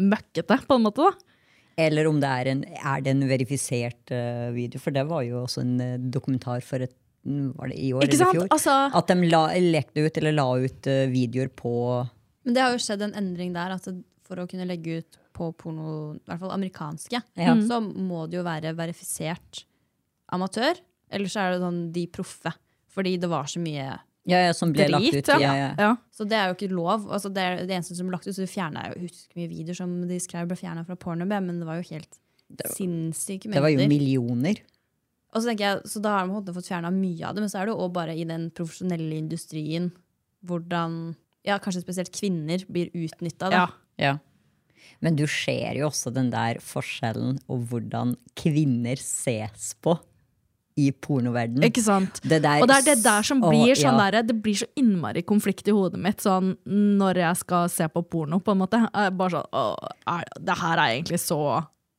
Speaker 3: møkkete, på en måte. da.
Speaker 2: Eller om det er en, er det en verifisert eh, video, for det var jo også en eh, dokumentar for et, var det i år
Speaker 3: Ikke
Speaker 2: eller i
Speaker 3: sant?
Speaker 2: fjor.
Speaker 3: Altså-
Speaker 2: At de la, lekte ut eller la ut eh, videoer på
Speaker 4: Men det har jo skjedd en endring der. At det- for å kunne legge ut på porno, i hvert fall amerikanske,
Speaker 2: Ja.
Speaker 4: så må det jo være verifisert amatør. Eller så er det sånn de proffe. Fordi det var så mye
Speaker 2: ja, ja, som ble lagt
Speaker 4: Drit,
Speaker 2: ut.
Speaker 4: ja.
Speaker 2: Ja, ja.
Speaker 3: Ja.
Speaker 4: Så det er jo ikke lov. Altså det er det eneste som ble lagt ut, så de fjerna jo husker mye videoer som de skrev ble fjerna fra pornobé, men det var jo helt sinnssyke
Speaker 2: Det var jo
Speaker 4: mengder.
Speaker 2: millioner.
Speaker 4: Og så tenker jeg, så da har de på en måte fått fjerna mye av det, men så er det jo også bare i den profesjonelle industrien hvordan ja, kanskje spesielt kvinner blir utnytta.
Speaker 3: Ja.
Speaker 2: Men du ser jo også den der forskjellen og hvordan kvinner ses på i pornoverdenen.
Speaker 3: Ikke sant?
Speaker 2: Det der-
Speaker 3: og det er det der som
Speaker 2: Å,
Speaker 3: blir sånn
Speaker 2: ja.
Speaker 3: derre- det blir så innmari konflikt i hodet mitt sånn, når jeg skal se på porno. på en måte. Jeg er Bare sånn Å, er, det her er egentlig så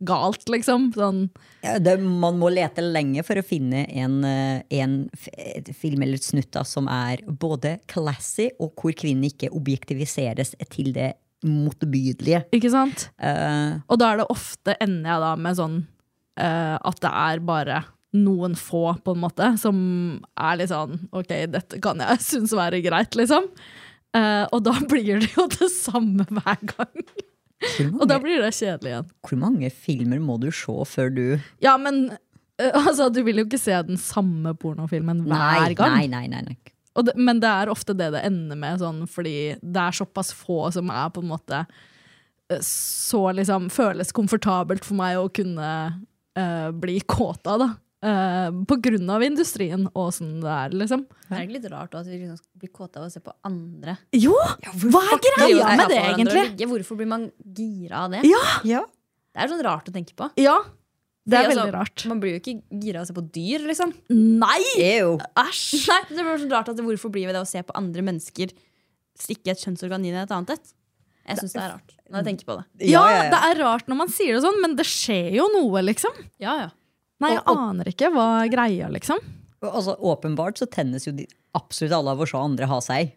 Speaker 3: galt, liksom. Sånn,
Speaker 2: Ja, det, man må lete lenge for å finne en, eh, en f- et film eller et snutt da, som er både classy, og hvor kvinnen ikke objektiviseres til det motbydelige.
Speaker 3: ikke sant?
Speaker 2: Eh,
Speaker 3: Og da er det ofte ender jeg da med sånn eh, at det er bare noen få, på en måte, som er litt sånn Ok, dette kan jeg synes være greit, liksom. Eh, og da blir det jo det samme hver gang.
Speaker 2: hvor,
Speaker 3: Og da
Speaker 2: mange,
Speaker 3: blir det kjedelig igjen.
Speaker 2: hvor mange filmer må du se før du
Speaker 3: Ja, men eh, altså, du vil jo ikke se den samme pornofilmen hver
Speaker 2: Nei,
Speaker 3: gang.
Speaker 2: nei, nei, nei, nei.
Speaker 3: Og det, men det er ofte det det ender med, sånn, fordi det er såpass få som er på en måte eh, Så liksom føles komfortabelt for meg å kunne eh, bli kåt av, da. Eh, på grunn av industrien og åssen det er, liksom.
Speaker 4: Det er ikke litt rart også, at vi liksom blir kåte av å se på andre.
Speaker 3: Jo! Hva er
Speaker 4: Drive
Speaker 3: greia med det,
Speaker 4: og ta på hverandre og
Speaker 3: egentlig?
Speaker 4: ligge. Hvorfor blir man gira av det?
Speaker 3: Ja.
Speaker 2: Ja.
Speaker 4: Det er sånn rart å tenke på.
Speaker 3: Ja. Det er
Speaker 4: Fordi,
Speaker 3: veldig
Speaker 4: altså,
Speaker 3: rart.
Speaker 4: Man blir jo ikke gira av å se på dyr, liksom.
Speaker 3: Nei!
Speaker 2: Ew.
Speaker 3: Æsj!
Speaker 4: Nei, det blir sånn rart at det- Hvorfor blir vi det å se på andre mennesker stikke et kjønnsorgan inn i et annet et? Jeg syns det er rart. når jeg tenker på det.
Speaker 3: Ja,
Speaker 2: ja, ja.
Speaker 3: det er rart når man sier det sånn, men det skjer jo noe, liksom.
Speaker 4: Ja, ja.
Speaker 3: Nei, jeg aner ikke hva er greia, liksom.
Speaker 2: Og Altså, åpenbart så tennes jo de, absolutt alle av å se andre ha seg.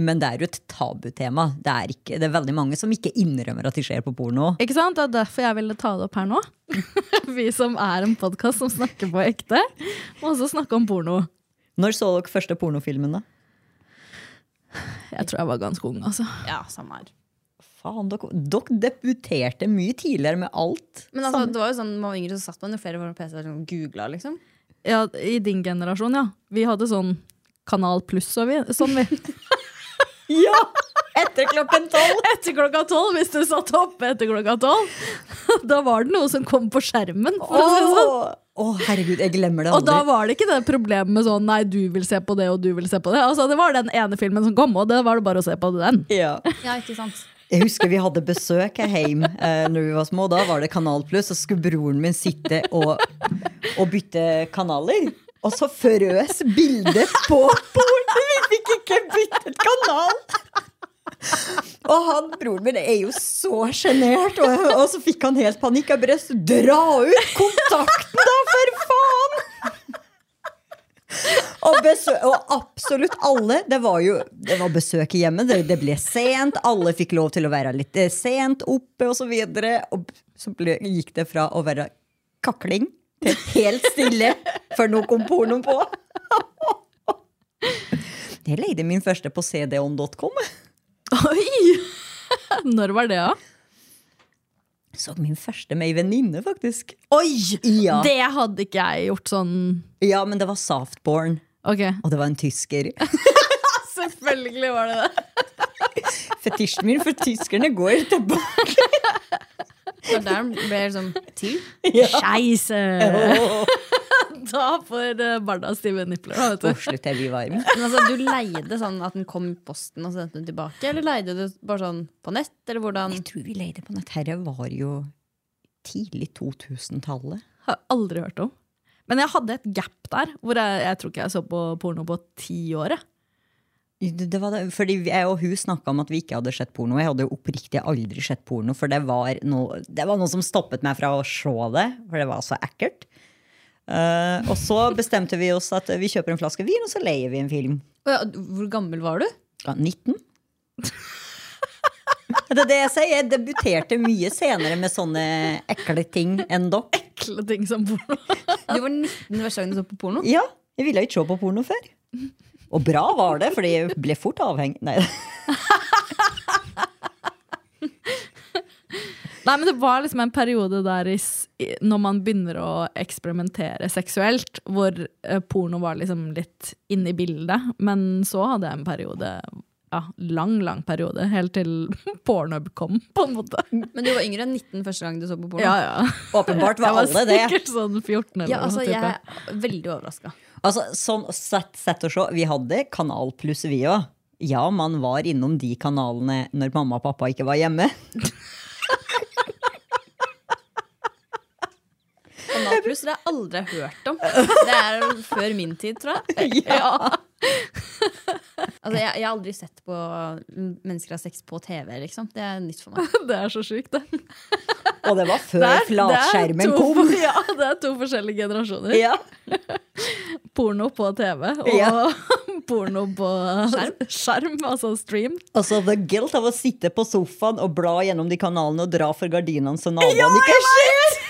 Speaker 2: Men det er jo et tabutema. Det er, ikke, det er veldig mange som ikke innrømmer at de ser på porno.
Speaker 3: Ikke sant? Det er derfor jeg ville ta det opp her nå. Vi som er en podkast som snakker på ekte, må også snakke om porno.
Speaker 2: Når så dere første pornofilmen, da?
Speaker 3: Jeg tror jeg var ganske ung, altså.
Speaker 4: ja samme her.
Speaker 2: Faen, dere, dere debuterte mye tidligere med alt.
Speaker 4: Men altså, det var jo sånn, man var yngre, så satt man jo flere foran PC og sånn, googla, liksom.
Speaker 3: Ja, I din generasjon, ja. Vi hadde sånn Kanal Pluss og vi, sånn, vi.
Speaker 2: Ja! Etter klokken tolv!
Speaker 3: Etter klokka tolv, hvis du satt oppe etter klokka tolv. Da var det noe som kom på skjermen. For å si det
Speaker 2: Å,
Speaker 3: sånn.
Speaker 2: herregud, jeg glemmer det
Speaker 3: Og da
Speaker 2: aldri.
Speaker 3: var det ikke det problemet med sånn nei, du vil se på det, og du vil se på det. Altså, Det var den ene filmen som kom, og det var det bare å se på den.
Speaker 2: Ja.
Speaker 4: Ja, ikke sant?
Speaker 2: Jeg husker vi hadde besøk her hjemme eh, når vi var små. Da var det Kanal Pluss, og så skulle broren min sitte og, og bytte kanaler. Og så frøs bildet på bordet! Vi fikk ikke byttet kanal! Og han, broren min er jo så sjenert, og, og så fikk han helt panikk. Jeg bare Dra ut kontakten, da, for faen! Og, besø og absolutt alle. Det var jo det var besøk i hjemmet. Det, det ble sent. Alle fikk lov til å være litt eh, sent oppe, og så videre. Og b- så ble, gikk det fra å være kakling til helt stille før nå kom pornoen på. Jeg leide min første på cdon.com.
Speaker 3: Oi! Når var det, da?
Speaker 2: Så min første med ei venninne, faktisk.
Speaker 3: Oi!
Speaker 2: Ja.
Speaker 3: Det hadde ikke jeg gjort sånn
Speaker 2: ja, men det var Softborn,
Speaker 3: Ok.
Speaker 2: og det var en tysker.
Speaker 3: Selvfølgelig var det det.
Speaker 2: Fetisjen min for tyskerne går tilbake.
Speaker 4: Så der ble jeg liksom til.
Speaker 3: Skeise!
Speaker 2: Åh,
Speaker 3: Da får eh, barna stive nipler, da, vet du.
Speaker 2: slutt, jeg blir varm.
Speaker 4: Men altså, du leide sånn at den kom i posten, og så sendte den tilbake? Eller leide du bare sånn på nett, eller hvordan?
Speaker 2: Jeg tror vi leide på nett. Herre var jo tidlig 2000-tallet.
Speaker 3: Har aldri hørt om. Men jeg hadde et gap der, hvor jeg, jeg tror ikke jeg så på porno på ti år. jeg.
Speaker 2: Det det var det, fordi jeg og hun snakka om at vi ikke hadde sett porno. Jeg hadde jo oppriktig aldri sett porno, for det var, noe, det var noe som stoppet meg fra å se det. For det var så ekkelt. Eh, og så bestemte vi oss at vi kjøper en flaske vin, og så leier vi en film.
Speaker 4: Å Ja, hvor gammel var du?
Speaker 2: Ja, 19? Det er det jeg sier. Jeg debuterte mye senere med sånne ekle ting enn dere.
Speaker 3: Ekle ting som porno.
Speaker 4: Du var 19 første gang du så på porno.
Speaker 2: Ja, jeg ville ikke se på porno før. Og bra var det, fordi jeg ble fort avhengig. Nei,
Speaker 3: Nei, men det var liksom en periode der i, s- i- når man begynner å eksperimentere seksuelt, hvor eh, porno var liksom litt inne i bildet. Men så hadde jeg en periode, ja, lang, lang periode, helt til Pornhub kom, på en måte.
Speaker 4: Men du var yngre enn 19 første gang du så på porno.
Speaker 3: Ja, ja.
Speaker 2: åpenbart var alle det.
Speaker 3: sikkert sånn 14 eller
Speaker 4: Ja, altså,
Speaker 3: noe.
Speaker 4: jeg
Speaker 3: type.
Speaker 4: er veldig overraska.
Speaker 2: Altså, sånn sett, sett og se, vi hadde Kanal Pluss, vi òg. Ja, man var innom de kanalene når mamma og pappa ikke var hjemme.
Speaker 4: Kanal Pluss det har jeg aldri hørt om. Det er før min tid, tror jeg. Ja. Altså, jeg, jeg har aldri sett på mennesker har sex på TV, liksom. Det er nytt for meg.
Speaker 3: Det er så sjukt, det.
Speaker 2: Og det var før
Speaker 3: Det er- det er
Speaker 2: flatskjermen
Speaker 3: to-
Speaker 2: kom.
Speaker 3: Ja, det er to forskjellige generasjoner.
Speaker 2: Ja.
Speaker 3: Porno på TV og
Speaker 2: Ja.
Speaker 3: porno på skjerm. altså stream.
Speaker 2: Altså, the guilt av å sitte på sofaen og bla gjennom de kanalene og dra for gardinene så naboene ikke ser!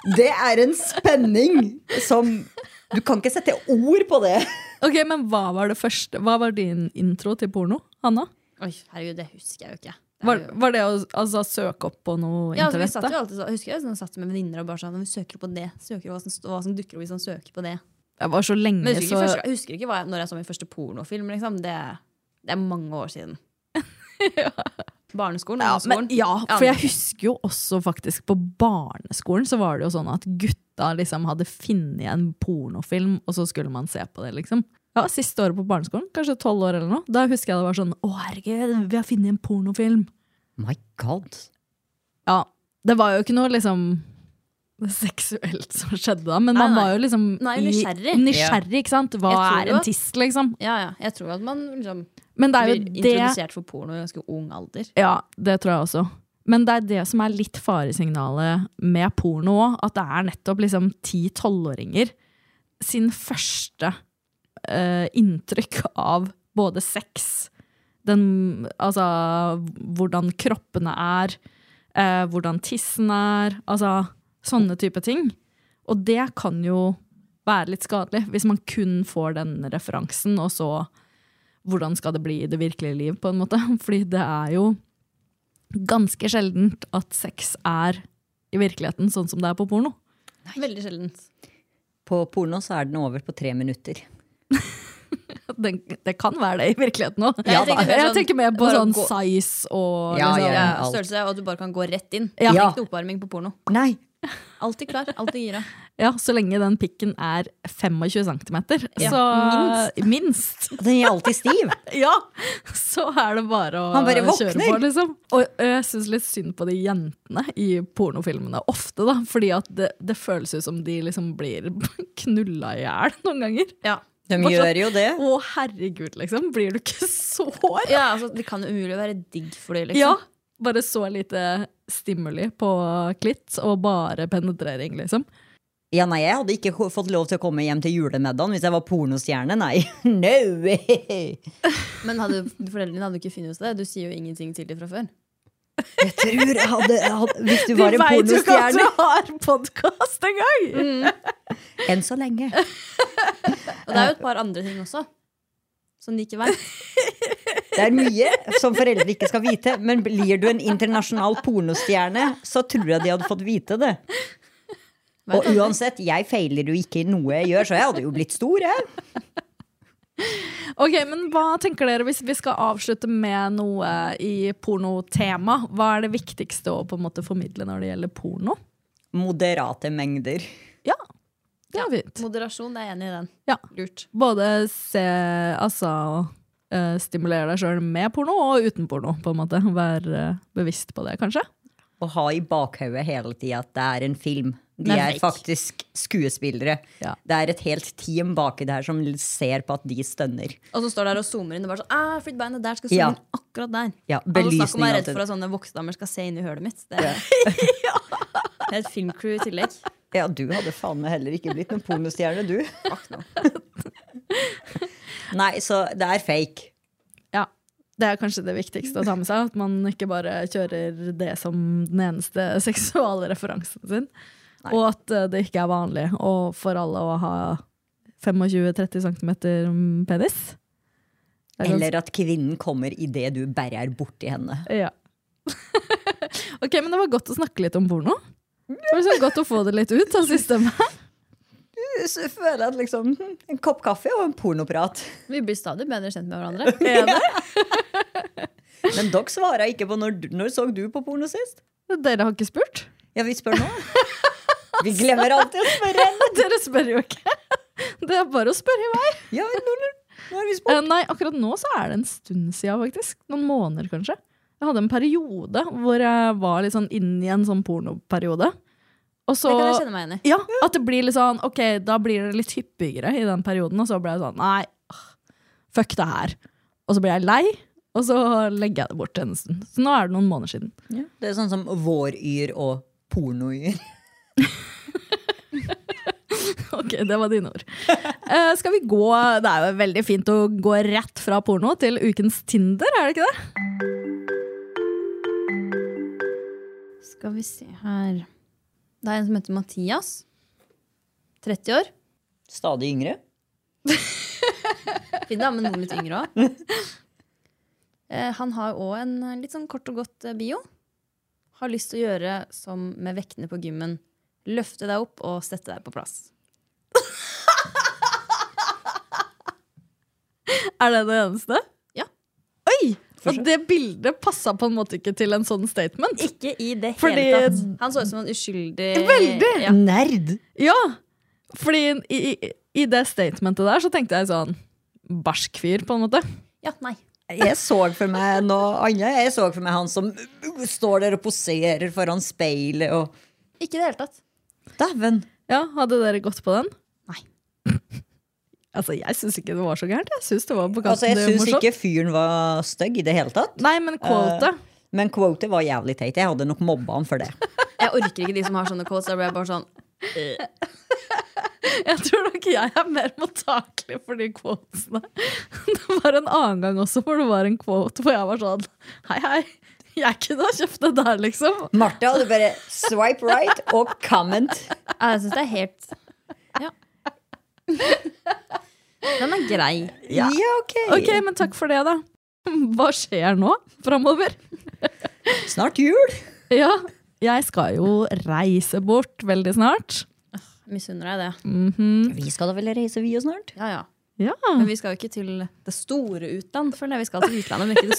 Speaker 2: Det er en spenning som Du kan ikke sette ord på det.
Speaker 3: Ok, men hva var det første? Hva var din intro til porno, Hanna?
Speaker 4: Oi, herregud, det husker jeg jo ikke. Det er
Speaker 3: Var,
Speaker 4: jo-
Speaker 3: var det å altså, søke opp på noe
Speaker 4: Ja, altså, vi
Speaker 3: internett?
Speaker 4: satt jo
Speaker 3: da?
Speaker 4: alltid så, husker jeg sånn, satt med venninner og bare sånn Vi søker på det. Søker hva som, st- hva som dukker opp hvis man søker på det.
Speaker 3: Jeg var så lenge,
Speaker 4: Men jeg husker
Speaker 3: så
Speaker 4: ikke, første, jeg husker ikke hva jeg, når jeg så min første pornofilm. Liksom. Det, det er mange år siden. Barneskolen,
Speaker 3: ja, men,
Speaker 4: ungdomsskolen.
Speaker 3: ja, for jeg husker jo også faktisk på barneskolen så var det jo sånn at gutta liksom hadde funnet en pornofilm, og så skulle man se på det, liksom. Ja, Siste året på barneskolen, kanskje tolv år eller noe. Da husker jeg det var sånn Å, herregud, vi har funnet en pornofilm!
Speaker 2: My god.
Speaker 3: Ja, Det var jo ikke noe liksom seksuelt som skjedde da, men
Speaker 4: Nei,
Speaker 3: man
Speaker 4: nei.
Speaker 3: var jo liksom
Speaker 4: Nei,
Speaker 3: i-
Speaker 4: nysgjerrig.
Speaker 3: nysgjerrig. ikke sant? Hva
Speaker 4: Jeg tror
Speaker 3: er en
Speaker 4: jo-
Speaker 3: tiss, liksom?
Speaker 4: Ja, ja. Jeg tror at man liksom,
Speaker 3: Men det er
Speaker 4: blir
Speaker 3: jo det
Speaker 4: introdusert for porno i ganske ung alder.
Speaker 3: Ja, det tror jeg også. Men det er det som er litt faresignalet med porno òg. At det er nettopp liksom ti-tolvåringer sin første eh, inntrykk av både sex, den, altså hvordan kroppene er, eh, hvordan tissen er, altså sånne type ting. Og det kan jo være litt skadelig, hvis man kun får den referansen, og så hvordan skal det bli i det virkelige liv, på en måte. Fordi det er jo ganske sjeldent at sex er i virkeligheten sånn som det er på porno.
Speaker 4: Veldig sjeldent.
Speaker 2: På porno så er den over på tre minutter.
Speaker 3: Det, det kan være det i virkeligheten òg.
Speaker 4: Ja,
Speaker 3: jeg,
Speaker 4: jeg tenker mer sånn-
Speaker 3: tenker mer på
Speaker 4: bare å
Speaker 3: sånn
Speaker 4: gå-
Speaker 3: size og
Speaker 2: Ja,
Speaker 3: liksom,
Speaker 2: ja, ja.
Speaker 4: Ja, størrelse, og at du bare kan gå rett inn.
Speaker 3: Ja.
Speaker 4: Ikke noe oppvarming på porno.
Speaker 2: Nei,
Speaker 4: Alltid klar, alltid gira.
Speaker 3: Ja, Så lenge den pikken er 25 cm,
Speaker 4: Ja,
Speaker 3: så minst.
Speaker 2: den er alltid stiv.
Speaker 3: Ja, så er det bare å
Speaker 2: Han bare
Speaker 3: kjøre
Speaker 2: våkner.
Speaker 3: på, liksom. Og ø, jeg syns litt synd på de jentene i pornofilmene ofte, da. Fordi at det, det føles ut som de liksom blir knulla i hjel noen ganger.
Speaker 4: Ja.
Speaker 2: De
Speaker 3: Bare sånn,
Speaker 2: gjør jo det.
Speaker 3: Å, herregud, liksom. Blir du ikke sår?
Speaker 4: ja, altså, Det kan jo umulig være digg for dem, liksom.
Speaker 3: Ja. Bare så lite stimuli på klitt, og bare penetrering, liksom.
Speaker 2: Ja, nei, Jeg hadde ikke fått lov til å komme hjem til julemiddagen hvis jeg var pornostjerne. Nei. No!
Speaker 4: Men hadde, foreldrene hadde jo ikke funnet ut det. Du sier jo ingenting til dem fra før.
Speaker 2: Jeg tror jeg hadde, jeg hadde Hvis du
Speaker 3: De
Speaker 2: var en
Speaker 3: vet jo ikke at
Speaker 2: pornostjerne Mm.
Speaker 3: du har podkast engang!
Speaker 2: Enn så lenge.
Speaker 4: Og det er jo et par andre ting også. Som de ikke vet.
Speaker 2: Det er mye som foreldre ikke skal vite, men blir du en internasjonal pornostjerne, så tror jeg de hadde fått vite det. Og uansett, jeg feiler jo ikke i noe jeg gjør, så jeg hadde jo blitt stor, jeg.
Speaker 3: Ok, men Hva tenker dere hvis vi skal avslutte med noe i pornotema? Hva er det viktigste å på en måte formidle når det gjelder porno?
Speaker 2: Moderate mengder.
Speaker 3: Ja, det er fint.
Speaker 4: Moderasjon, jeg er enig i den.
Speaker 3: Ja.
Speaker 4: Lurt.
Speaker 3: Både se, altså eh, stimulere deg sjøl med porno og uten porno. på en måte. Vær eh, bevisst på det, kanskje.
Speaker 2: Å ha i bakhodet hele tida at det er en film. De
Speaker 4: Det er
Speaker 2: er
Speaker 4: fake.
Speaker 2: faktisk skuespillere.
Speaker 3: Ja.
Speaker 2: Det er et helt team baki der som ser på at de stønner.
Speaker 4: Og så står der og zoomer inn og bare sånn «Ah, Flytt beinet der, skal zoome
Speaker 2: Ja.
Speaker 4: inn akkurat der.
Speaker 2: Ja,
Speaker 4: Alle snakker om å
Speaker 2: belysning
Speaker 4: være
Speaker 2: og
Speaker 4: redd for
Speaker 2: alt det.
Speaker 4: at sånne voksdamer skal se inn i hølet mitt. Det er, det er et filmcrew i tillegg.
Speaker 2: Ja, du hadde faen meg heller ikke blitt noen pornostjerne, du. Nei, så det er fake.
Speaker 3: Det er kanskje det viktigste å ta med seg, at man ikke bare kjører det som den eneste seksuale referansen sin. Og at eh, det ikke er vanlig å- for alle å ha 25-30 cm penis. Det er ganske-
Speaker 2: Eller at kvinnen kommer idet du bare er borti henne.
Speaker 3: Ja. ok, men det var godt å snakke litt om porno. Det var så godt å få det litt ut av systemet.
Speaker 2: Så jeg føler at liksom, hm, En kopp kaffe og en pornoprat.
Speaker 4: Vi blir stadig bedre kjent med hverandre.
Speaker 2: Men dere svarer ikke på når, du- når så du på porno sist?
Speaker 3: Dere har ikke spurt?
Speaker 2: Ja, vi spør nå. Vi glemmer alltid å spørre.
Speaker 3: Dere spør jo ikke. Det er bare å spørre i vei.
Speaker 2: Ja, men nå, nå har vi spurt.
Speaker 3: Eh, nei, akkurat nå så er det en stund siden, faktisk. Noen måneder, kanskje. Jeg hadde en periode hvor jeg var litt sånn inn i en sånn pornoperiode. Og så
Speaker 4: Det kan jeg kjenne meg igjen i.
Speaker 3: Ja, at det blir litt sånn Ok, da blir det litt hyppigere i den perioden. Og så ble jeg sånn Nei, åh, fuck det her. Og så blir jeg lei, og så legger jeg det bort en stund. Så nå er det noen måneder siden.
Speaker 2: Det er sånn som våryr og pornoyr.
Speaker 3: Ok, det var dine ord. Eh, skal vi gå Det er jo veldig fint å gå rett fra porno til ukens Tinder, er det ikke det?
Speaker 4: Skal vi se her Det er en som heter Mathias. 30 år.
Speaker 2: Stadig yngre.
Speaker 4: Fin dame, men noe litt yngre òg. Han har òg en eh, litt sånn kort og godt eh, bio. Har lyst til å gjøre som med vektene på gymmen. Løfte deg opp og sette deg på plass.
Speaker 3: Er det det eneste?
Speaker 4: Ja.
Speaker 3: Oi! Og det bildet passa på en måte ikke til en sånn statement.
Speaker 4: Ikke i det
Speaker 3: Fordi-
Speaker 4: hele tatt. Han så ut som en uskyldig
Speaker 3: Veldig!
Speaker 4: Ja.
Speaker 2: Nerd!
Speaker 3: Ja! Fordi i, i, i det statementet der så tenkte jeg sånn Barsk fyr, på en måte.
Speaker 4: ja, nei.
Speaker 2: Jeg så for meg noe annet. Jeg så for meg han som står der og poserer foran speilet og
Speaker 4: Ikke i det hele tatt.
Speaker 2: Dæven!
Speaker 3: Ja, Hadde dere gått på den?
Speaker 4: Nei.
Speaker 3: altså, Jeg syns ikke det var så gærent. Jeg syns det var på
Speaker 2: Altså,
Speaker 3: kanten
Speaker 2: jeg syns
Speaker 3: morsomt.
Speaker 2: ikke Eh. fyren var stygg i det hele tatt.
Speaker 3: Nei, men quote.
Speaker 2: Men quotet var jævlig teit. Jeg hadde nok mobba han for det.
Speaker 4: Jeg orker ikke de som har sånne quotes. Da blir jeg bare sånn
Speaker 3: Jeg tror nok jeg er mer mottakelig for de quotesene. Det var en annen gang også hvor det var en quote hvor jeg var sånn Hei, hei, jeg kunne ha kjøpt det der, liksom.
Speaker 2: Martha hadde bare swipe right og comment.
Speaker 4: Ja, Jeg syns det er helt Ja. Den er grei.
Speaker 2: Ja, ok.
Speaker 3: Ok, men takk for det, da. Hva skjer nå framover?
Speaker 2: Snart jul.
Speaker 3: Ja, jeg skal jo reise bort veldig snart.
Speaker 4: Misunner deg det.
Speaker 2: Mm. Vi skal da vel reise, vi og snart?
Speaker 4: Ja, ja.
Speaker 3: Ja,
Speaker 4: Men vi skal jo ikke til det store utland, føler jeg. Vi skal til utlandet, men ikke det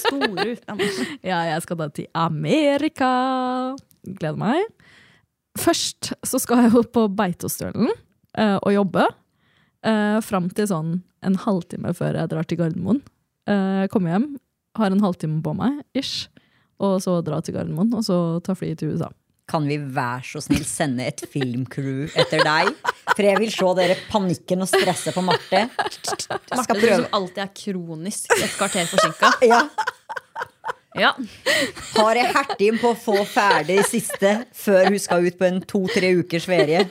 Speaker 4: store utlandet.
Speaker 3: ja jeg skal da til Amerika. Gleder meg. Først så skal jeg jo på Beitostølen eh, og jobbe. Eh, fram til sånn en halvtime før jeg drar til Gardermoen. Eh, kommer hjem, har en halvtime på meg, ish. Og så dra til Gardermoen, og så ta flyet til USA.
Speaker 2: Kan vi vær så snill sende et filmcrew etter deg? For jeg vil se dere panikken og stresset på Marte.
Speaker 4: Marte,
Speaker 2: Skal
Speaker 4: du som
Speaker 2: prøve.
Speaker 4: alltid er kronisk et kvarter forsinka.
Speaker 2: Ja,
Speaker 4: Ja.
Speaker 2: har jeg hertig på å få ferdig siste før hun skal ut på en to-tre ukers ferie?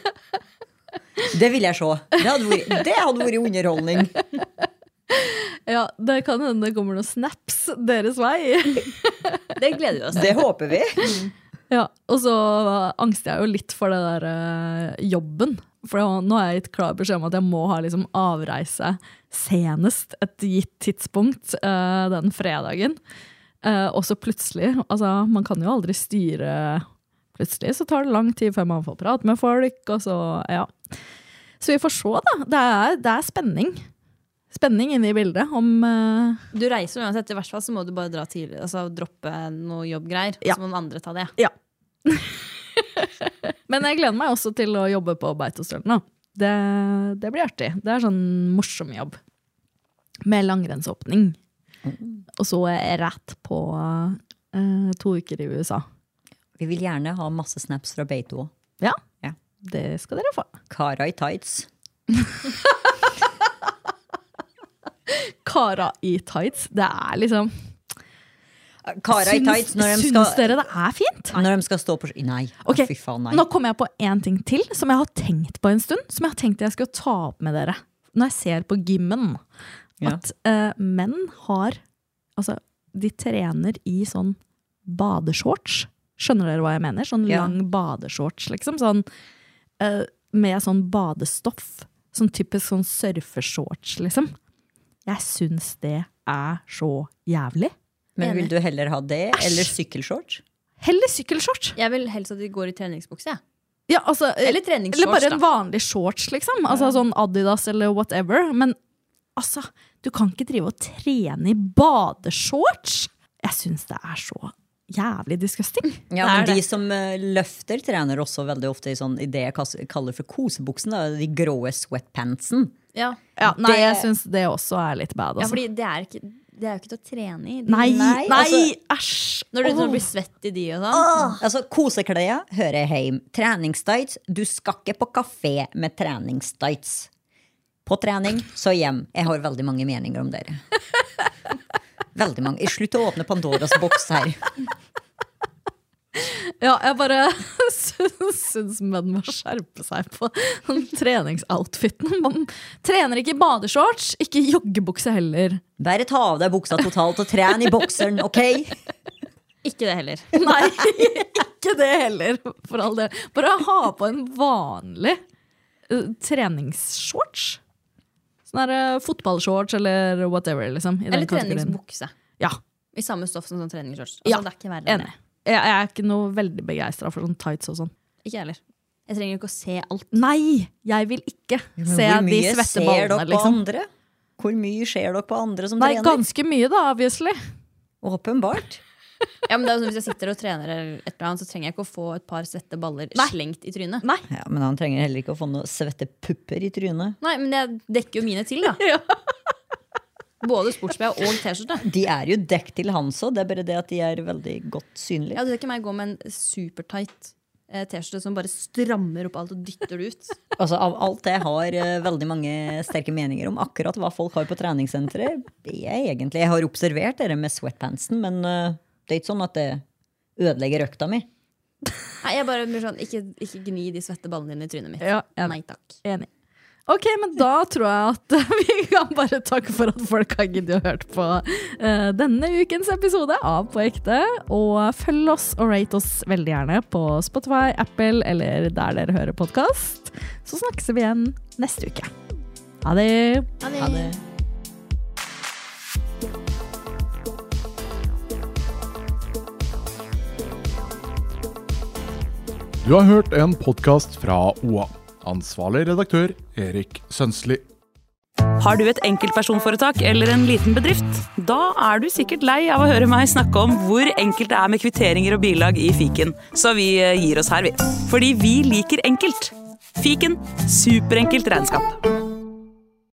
Speaker 2: Det vil jeg se. Det hadde vært, det hadde vært underholdning.
Speaker 3: Ja, det kan hende det kommer noen snaps deres vei.
Speaker 4: Det gleder vi oss til.
Speaker 2: Det håper vi.
Speaker 3: Ja, og så angster jeg jo litt for det der eh, jobben. For jeg- nå har jeg gitt klar beskjed om at jeg må ha liksom avreise senest et gitt tidspunkt eh, den fredagen. Eh, og så plutselig Altså, man kan jo aldri styre Plutselig så tar det lang tid før man får prate med folk, og så Ja. Så vi får se, da. Det er, det er spenning. Spenning inne i bildet om eh,
Speaker 4: Du reiser jo uansett. I hvert fall så må du bare dra tidlig, altså droppe noe jobbgreier.
Speaker 3: Ja.
Speaker 4: Så må noen andre ta det.
Speaker 3: Men jeg gleder meg også til å jobbe på Beitostølen. da. Det, det blir artig. Det er sånn morsom jobb. Med langrennsåpning.
Speaker 2: Mm.
Speaker 3: Og så rett på eh, to uker i USA.
Speaker 2: Vi vil gjerne ha masse snaps fra Beito.
Speaker 3: Ja,
Speaker 2: Ja.
Speaker 3: det skal dere få.
Speaker 2: Kara i tights.
Speaker 3: Kara i tights. Det er liksom
Speaker 2: Kara i tights når de
Speaker 3: Syns
Speaker 2: skal,
Speaker 3: dere det er fint?
Speaker 2: når de skal stå på ski- Nei, å,
Speaker 3: Ok,
Speaker 2: fy faen,
Speaker 3: Nå
Speaker 2: nei.
Speaker 3: kommer jeg på én ting til som jeg har tenkt på en stund. Som jeg har tenkt jeg skal ta opp med dere når jeg ser på gymmen.
Speaker 2: Ja.
Speaker 3: At eh, menn har altså de trener i sånn badeshorts. Skjønner dere hva jeg mener? Sånn
Speaker 5: Ja.
Speaker 3: lang badeshorts, liksom. Sånn, eh, med sånn badestoff. Sånn typisk sånn surfeshorts, liksom. Jeg syns det er så jævlig.
Speaker 2: Men vil
Speaker 4: Enig.
Speaker 2: du heller ha det, eller sykkelshorts?
Speaker 3: Heller sykkelshorts!
Speaker 4: Jeg vil helst at de går i treningsbukse. jeg.
Speaker 3: Ja, altså, eh,
Speaker 4: Eller treningsshorts,
Speaker 3: Eller bare en
Speaker 4: da.
Speaker 3: vanlig shorts, liksom. Altså Sånn Adidas eller whatever. Men altså, du kan ikke drive og trene i badeshorts! Jeg syns det er så jævlig disgusting.
Speaker 2: Ja,
Speaker 4: Mm.
Speaker 3: Det er
Speaker 2: men De
Speaker 3: det.
Speaker 2: som eh, løfter, trener også veldig ofte i sånn, i det jeg kas- kaller for kosebuksen. Da, de gråe sweatpantsen.
Speaker 4: Ja.
Speaker 3: ja, Nei,
Speaker 2: Det-
Speaker 3: jeg syns det også er litt bad.
Speaker 4: ja,
Speaker 3: Altså.
Speaker 4: fordi det er, ikke, det er jo ikke til å trene i. De-
Speaker 3: nei, nei,
Speaker 2: Nei, altså-
Speaker 3: æsj!
Speaker 4: Når du
Speaker 3: Åh.
Speaker 4: sånn blir svett i de og sånn.
Speaker 2: Altså, Koseklær hører hjem. Treningstights. Du skal ikke på kafé med treningstights. På trening, så hjem. Jeg har veldig mange meninger om dere. Veldig mange. Slutt å åpne Pandoras boks her.
Speaker 3: Ja, jeg bare syns, syns menn må skjerpe seg på den treningsoutfiten. Man trener ikke i badeshorts, ikke i joggebukse heller.
Speaker 2: Bare ta av deg buksa totalt og tren i bokseren, ok?
Speaker 4: Ikke det heller.
Speaker 3: Nei, ikke det heller, for all del. Bare ha på en vanlig eh, treningsshorts. Sånn der eh, fotballshorts eller whatever, liksom. i den
Speaker 4: Eller
Speaker 3: kategorien.
Speaker 4: treningsbukse.
Speaker 3: Ja,
Speaker 4: I samme stoff som sånn treningsshorts. Altså,
Speaker 3: Ja,
Speaker 4: Det er ikke verre. enn
Speaker 3: enig. Jeg, jeg er ikke noe veldig begeistra for sånn tights og sånn.
Speaker 4: det. Ikke jeg heller. Jeg trenger ikke å se alt.
Speaker 3: Nei, jeg vil ikke se de svette ballene, liksom.
Speaker 2: andre? Hvor mye ser dere på andre som
Speaker 3: Nei,
Speaker 2: trener?
Speaker 3: ganske mye, da, obviously.
Speaker 2: Åpenbart.
Speaker 4: Ja, men det er jo sånn, Hvis jeg sitter og trener, eller et eller annet, så trenger jeg ikke å få et par svette baller slengt i trynet.
Speaker 3: Nei.
Speaker 2: Ja, Men han trenger heller ikke å få noen svette pupper i trynet.
Speaker 4: Nei, men jeg dekker jo mine til, da.
Speaker 3: Ja.
Speaker 4: Både sportsbh og T-skjorte.
Speaker 2: De er jo dekk til hans òg, det er bare det at de er veldig godt synlige.
Speaker 4: Ja, Du ser ikke meg gå med en supertight eh, T-skjorte som bare strammer opp alt og dytter det ut.
Speaker 2: Altså, av alt jeg har eh, veldig mange sterke meninger om akkurat hva folk har på treningssenteret, jeg egentlig Jeg har observert dere med sweatpantsen, men eh, det er ikke sånn at det ødelegger økta mi.
Speaker 4: Nei, jeg bare blir sånn, ikke, ikke gni de svette ballene dine i trynet mitt.
Speaker 3: Ja, enig.
Speaker 4: Nei takk.
Speaker 3: enig. Ok, men da tror jeg at vi kan bare takke for at folk har giddet å høre på eh, denne ukens episode av På ekte. Og følg oss og rate oss veldig gjerne på Spotify, Apple eller der dere hører podkast. Så snakkes vi igjen neste uke. Ha det!
Speaker 4: Ha det.
Speaker 1: Du har hørt en podkast fra OA. Ansvarlig redaktør Erik Sønsli.
Speaker 6: Har du et enkeltpersonforetak eller en liten bedrift? Da er du sikkert lei av å høre meg snakke om hvor enkelt det er med kvitteringer og bilag i fiken, så vi eh, gir oss her, vi. Fordi vi liker enkelt. Fiken superenkelt regnskap.